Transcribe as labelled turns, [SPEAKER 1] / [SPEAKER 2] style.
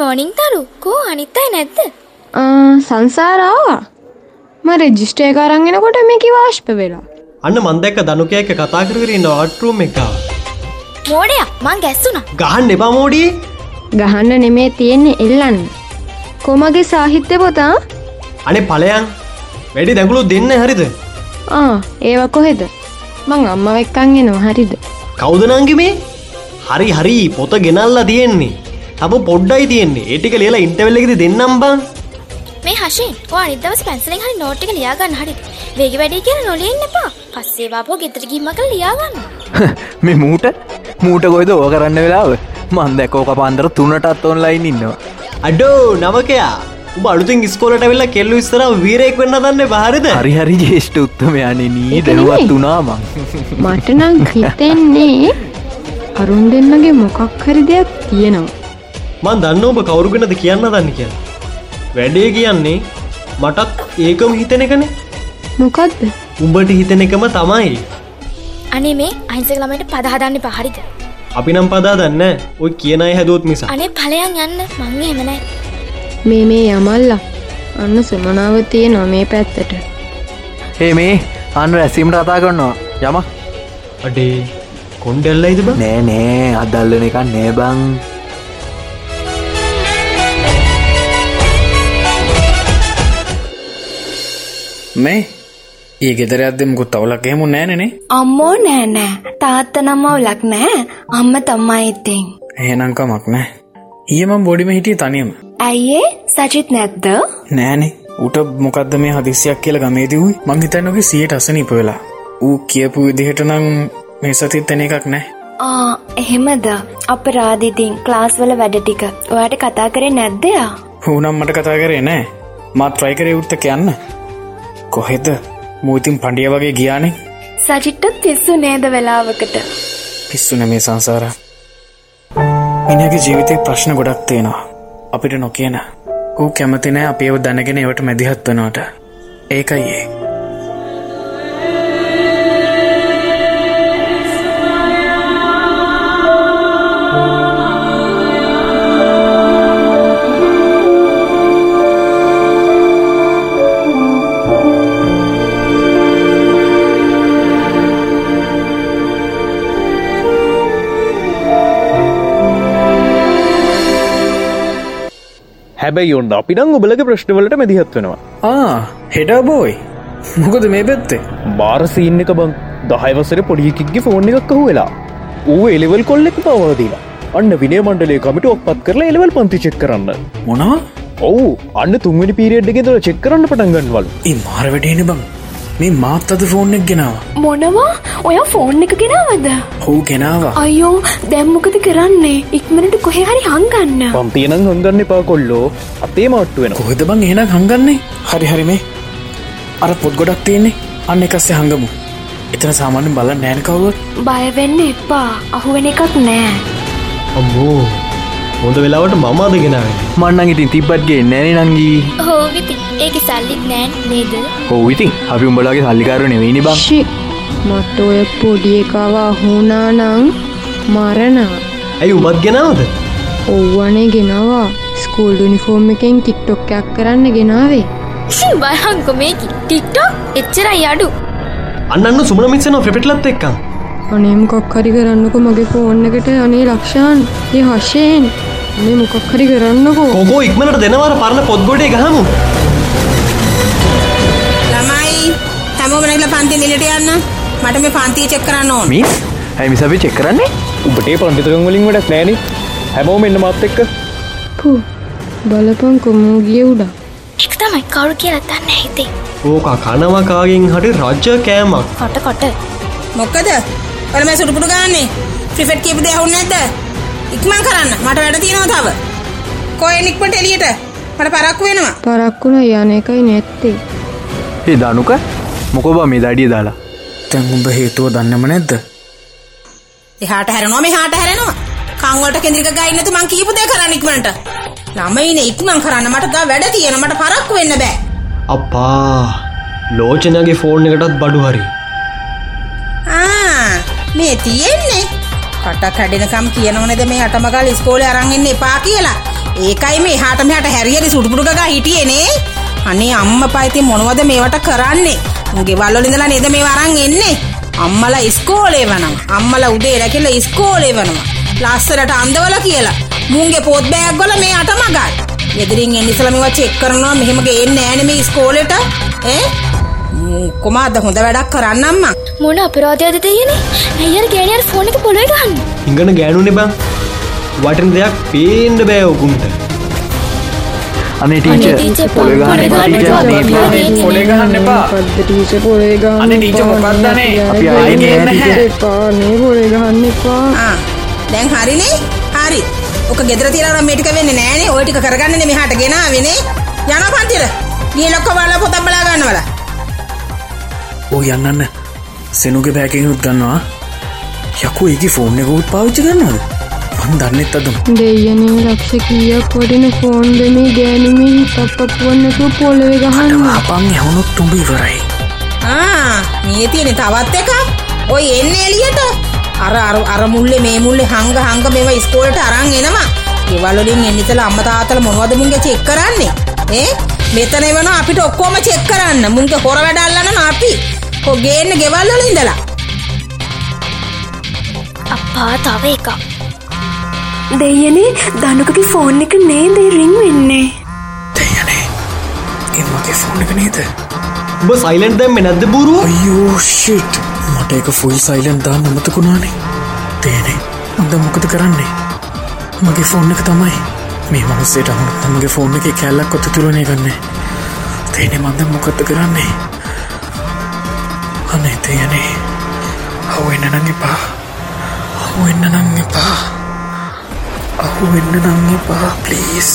[SPEAKER 1] මෝනිින් තරු කෝ අනිත්තයි නැත්ද
[SPEAKER 2] සංසාරාවා ම රෙජිස්ටේ කරන්ගෙනකොට මේකි වාශ්ප වෙලා
[SPEAKER 3] අන්න මන්දැක්ක දනුකයක කතා කරකරන්න ආටරුම් එකා
[SPEAKER 1] මෝඩයා මං ගැස්සුනා
[SPEAKER 3] ගහන් එපා මෝඩී
[SPEAKER 2] ගහන්න නෙමේ තියෙන්නේ එල්ලන්න කොමගේ සාහිත්‍ය පොතා
[SPEAKER 3] අනේ පලයන් වැඩි දැකුළු දෙන්න හරිද
[SPEAKER 2] ආ ඒව කොහෙද මං අම්ම වෙක්කන් එනවා හරිද
[SPEAKER 3] කෞදනංගිමේ හරි හරි පොත ගෙනල්ලා තියෙන්නේ අප පොඩ්ඩයි තියෙන්නේ ඒටික ලියලා ඉන්ටවෙල්ලෙකෙද දෙන්නම් බං
[SPEAKER 1] මේ හශෙන් වා අනිදවස් පැන්සලෙන් හරි නෝට්ටික ලියාගන්න හරි වේග වැඩි කියන නොලියෙන් එපා පස්සේවාපෝ ගෙතර ගිම්මක ලියාගන්න
[SPEAKER 4] මේ මූට මූට ගොයිද ඕ කරන්න වෙලාව මන් දැකෝක පන්දර තුනටත් ඔන්ලයින් ඉන්නවා
[SPEAKER 3] අඩෝ නවකයා උබ අලුතින් ස්කෝලට වෙල්ලා කෙල්ලු ස්තර වීරෙක් වෙන්න දන්න බාරිද
[SPEAKER 4] හරිහරි ජේෂ්ට උත්තමයන නී
[SPEAKER 2] ඒක
[SPEAKER 4] දැනුවත්
[SPEAKER 2] නෙමෙයි.
[SPEAKER 4] වනාමං
[SPEAKER 2] මටනම් හිතෙන්නේ අරුන් දෙන්නගේ මොකක් හරි දෙයක් තියෙනවා
[SPEAKER 3] මන් දන්න ඔබ කවරුගෙනද කියන්න දන්න කිය වැඩේ කියන්නේ මටත් ඒකම හිතෙන එකන
[SPEAKER 2] මොකක්ද
[SPEAKER 3] උඹට හිතෙන එකම තමයි
[SPEAKER 1] අනේ මේ අහිංසක ළමයට පදහදන්න පහරිද
[SPEAKER 3] අපි නම් පදා දන්න ඔය කියනයි හැදුවත් නිසා
[SPEAKER 1] අනේ පලයන් යන්න මං එහෙමනෑ
[SPEAKER 2] මේ මේ යමල්ලා අන්න සුමනාව තියෙනවා මේ පැත්තට
[SPEAKER 4] ඒ මේ අන්න රැසීමට අතා කරනවා යම
[SPEAKER 3] අඩේ කොන්ඩෙල්ලයිද බ
[SPEAKER 4] නෑ නෑ අදල්ලන එක නෑ බං
[SPEAKER 5] මේ ඒ ගෙදර අදෙමකුත් අවුලක් එහෙමු නෑනනේ
[SPEAKER 6] අම්මෝ නෑනෑ තාත්ත නම්මවුලක් නෑ අම්ම තම්මා ඉත්තෙන්.
[SPEAKER 5] එහෙනංකමක් නෑ ඒමම් බොඩිම හිටිය තනියම
[SPEAKER 6] ඇයිඒ සචිත් නැත්ද?
[SPEAKER 5] නෑනේ උට මොකක්ද මේ හදිසියක් කියලා ගමේදවයි මංහිතන්නගේ සියට අසනීප වෙලා ඌ කියපු විදිහට නම් මේ සතිත් තැන එකක් නෑ
[SPEAKER 6] ආ එහෙමද අප රාධිතින් ක්ලාස්වල වැඩ ටික ඔයාට කතා කරේ නැද්දයා?
[SPEAKER 5] හුනම් මට කතා කරේ නෑ මත් ට්‍රයිකරේ උත්ත කියන්න කොහෙද මූතින් පණ්ඩිය වගේ ගියානේ
[SPEAKER 6] සචිට්ටත් පිස්සු නේද වෙලාවකට.
[SPEAKER 5] පිස්සුන මේ සංසාර මිනිගේ ජීවිතය ප්‍රශ්න ගොඩක් තියෙනවා අපිට නොකියන ඌ කැමතිනෑ අපේව දැනගෙන ඒවට මැදිහත් වනවට ඒකයි ඒ
[SPEAKER 7] හැබැයි ඔන්න අපි නං ඔබලගේ ප්‍රශ්නවලට මැදිහත් වෙනවා
[SPEAKER 5] ආ හෙඩා බෝයි මොකද මේ පැත්තේ
[SPEAKER 7] බාරසීන් එක බං දහයවසර පොඩියකික්ගේ ෆෝන් එකක් හුවෙලා ඌ එලෙවල් කොල්ලෙක් පවදීලා අන්න විනේ මණ්ඩලේ කමිටුවක් පත් කරලා එලෙවල් පන්තිචෙක් කරන්න
[SPEAKER 5] මොනවා
[SPEAKER 7] ඔවු අන්න තුන්වනි පිරිියඩ්ගේ තුර චෙක් කරන්න පටන්ගන්නවල්
[SPEAKER 5] ඒ මාරවැටේන බං මේ මාත් අද ෆෝන්නෙක් ගෙනවා
[SPEAKER 6] මොනවා ඔය ෆෝන් එක ගෙනවද?
[SPEAKER 5] හෝ ගෙනවා
[SPEAKER 6] අයෝ දැම්මොකද කරන්නේ ඉක්මනට කොහෙ හරි හංගන්න.
[SPEAKER 7] පන්තියනං හොඳන්න එපා කොල්ලෝ අපේ මාට්ටුව වෙන
[SPEAKER 5] කොහෙද බං එහෙන හංගන්නේ හරි හරි මේ අර පොත් ගොඩක් තියෙන්නේ අන්න එකස්සේ හඟමු එතන සාමාන්‍යෙන් බල නෑන කවුවත්
[SPEAKER 6] බයවෙන්න එපා අහුවෙන එකක් නෑ.
[SPEAKER 3] අම්බෝ හොඳ වෙලාවට මමාද ගෙනාව
[SPEAKER 4] මන්නන් ඉතින් තිබ්බත්ගේ නෑන නංගී
[SPEAKER 1] හෝ විති ඒක සල්ලිත් නෑන් නේද
[SPEAKER 4] හෝවිතින් අපි උඹලාගේ සල්ලිකාරණය වෙනි බං
[SPEAKER 2] ශි මට ඔය පොඩි එකවා හුනානං මරණා
[SPEAKER 3] ඇයි උබත් ගෙනාවද
[SPEAKER 2] ඔව්වනේ ගෙනවා ස්කූල් ඩිනිෆෝර්ම් එකෙන් ටික්ටොක්කයක් කරන්න ගෙනාවේ
[SPEAKER 1] බයහංකො මේකි ටික්ටෝ එච්චරයි අඩු
[SPEAKER 3] අන්න සුමනමිත්සන ෆිපිටලත් එක්කා
[SPEAKER 2] අනේ මොකක් හරි කරන්නකෝ මගේ ෆෝන් එකට අනේ ලක්ෂාන් ඒ හශයෙන් මේ මොකක් හරි කරන්නකෝ
[SPEAKER 3] කොකෝ ඉක්මනට දෙනවර පරණ පොත්්ගොඩේ ගහමු
[SPEAKER 8] ළමයි හැමෝම නැගිලා පන්ති නිලට යන්න මට මේ පන්තිය චෙක් කරන්න ඕන
[SPEAKER 4] මිස් ඇමි සබි චෙක් කරන්නේ
[SPEAKER 7] උබටේ පන්තිතකං වලින් වැඩක් නෑන හැමෝම එන්න මත් එක්ක
[SPEAKER 2] පු බලපන් කොමෝගිය උඩා
[SPEAKER 1] එක තමයි කවරු කියලා දන්න හිතේ
[SPEAKER 3] ඕකා කනවකාගෙන් හට රජ්ජ කෑමක්
[SPEAKER 1] කොට කොට
[SPEAKER 8] මොකද ඔල මේ සුටුපුටු ගන්නේ ක්‍රිෆට් කියපු දේ අහුන්නේ නැද්ද ඉක්මන් කරන්න මට වැඩ තියෙනවා තව කොහෙන් ඉක්මනට එළියට මට පරක්කු වෙනවා
[SPEAKER 2] පරක්කුණ යන එකයි නැත්තේ
[SPEAKER 4] ඒ දනුක මොකොබ මේ දඩිය දාලා
[SPEAKER 5] තැන් උඹ හේතුව දන්නම නැද්ද
[SPEAKER 8] එහාට හැරෙනවා මෙහාට හැරෙනවා කන් වලට කේන්ද්‍රික ගායි නැතු මං කියපු දේ කරන්න ඉක්මනට ළමයිනේ ඉක්මන් කරන්න මට තව වැඩ තියෙනවා මට පරක්කු වෙන්න බෑ
[SPEAKER 3] අපා ලෝචනගේ ෆෝර්න් එකටත් බඩු හරි
[SPEAKER 8] ආ මේ තියෙන්නේ කට කඩෙනකම් කියනවනද මේ අටමගල් ස්කෝලේ අරන් එන්න එපා කියලා ඒකයි මේ හාට මෙහට හැරියරි සුටුපුටුකගා හිටියේ නේ අනේ අම්මපා ඉතින් මොනවද මේවට කරන්නේ මුගේ වල්වල ඉඳලා නේද මේ වරන් එන්නේ අම්මලා ඉස්කෝලේ වනවා අම්මලා උදේ රැකිලා ඉස්කෝලේ වනවා ලස්සරට අන්දවල කියලා මුන්ගේ පොත් බෑග් වල මේ අටමගයි ගෙදරින් එන්න ඉස්සලා මේවා චෙක් කරනවා මෙහෙම ගේන්නේ නෑනේ මේ ඉස්කෝලේට ඈ කොමාද හොඳ වැඩක් කරන්න අම්මා
[SPEAKER 1] මොන අපරාධයද තියෙන්නේ? අයියර ගෑනියර ෆෝන් එක පොළවේ ගහන්න.
[SPEAKER 3] ඉඟන ගෑනුනේ බං වටින දෙයක් පේන්න බෑ ඔකුන්ට
[SPEAKER 4] අනේ ටීචර් පොළේ ගහන්න එපා ටීචර් මේ මේ-
[SPEAKER 5] පොලේ ගහන්න එපා
[SPEAKER 2] පද්ධතිීච පොලේ ගන්න
[SPEAKER 5] අනේ ටීචර්
[SPEAKER 2] එපා.
[SPEAKER 5] මොකක්ද අනේ?
[SPEAKER 2] යාර
[SPEAKER 4] අපි
[SPEAKER 2] ගෑනියන්
[SPEAKER 4] ආයේ නෑ
[SPEAKER 2] ටීචර්
[SPEAKER 5] ටීචර්.
[SPEAKER 2] එපා නේ පොලේ ගහන්න එපා
[SPEAKER 8] ආ, දැන් හරිනේ හරි ඕක ගෙදර තියලා මේ ටික වෙන්නේ නෑනේ ওই ටික කරගන්නනේ මෙහාට ගෙනාවෙනේ යනවා පන්තිර ගිහලා ඔක්කොම වල පොතක් බලා ගන්නවලා
[SPEAKER 5] ඕ යන්නන්න සෙනුගේ බෑකින් උත් ගන්නවා යකු ඒකි ෆෝන් එක උත් පාවිච්චි කරන්නද පන් දන්නෙත් අදම
[SPEAKER 2] දෙයනේ ලක්ෂ කියක් වටින ෆෝන් දෙමේ ගෑනුමින් තප්පපුුවන්නතු පොළොවේ ගහන්න
[SPEAKER 5] පන් යවුණුත් තුඹ ඉවරයි
[SPEAKER 8] ආ මේ තියෙන තවත් එකක් ඔය එන්නේ එළියට අර අර අර මුල්ලේ මේ මුල්ලේ හංග හංග මේවා ඉස්කෝලේට අරන් එනවා ගෙවල් වලින් එන්න ඉතලා අම්මා තාත්තලා මොනවද මුන්ගේ චෙක් කරන්නේ ඈ මෙතන එවනවා අපිට ඔක්කොම චෙක් කරන්න මුන්ගේ හොර වැඩ අල්ලනවා අපි කො ගේන්න ගෙවල් වල ඉඳලා
[SPEAKER 1] අප්පා තව එකක්.
[SPEAKER 6] දෙයනේ දනුකගේ ෆෝන් එක නේද රිං වෙන්නේ
[SPEAKER 5] දෙයනේ ඒ මගේ ෆෝන් එක නේද
[SPEAKER 3] ඔබ සයිලන්ට් දැම්මේ නැද්ද බූරුව
[SPEAKER 5] අයෝ ෂිට් මට එක ෆුල් සයිලන් දාන්න අමතකුණානේ තේනේ අද මොකද කරන්නේ මගේ ෆෝන් එක තමයි මේ මනුස්සේට අමුණුත් මගේ ෆෝන් එක කැල්ලක් කොත තුරණය ගන්නේ තේනේ මන්ද මොකද කරන්නේ අනේ තේනේ අහුවෙන්න නං එපා අහුවෙන්න නං එපා අහුවෙන්න නං එපා ප්ලීස්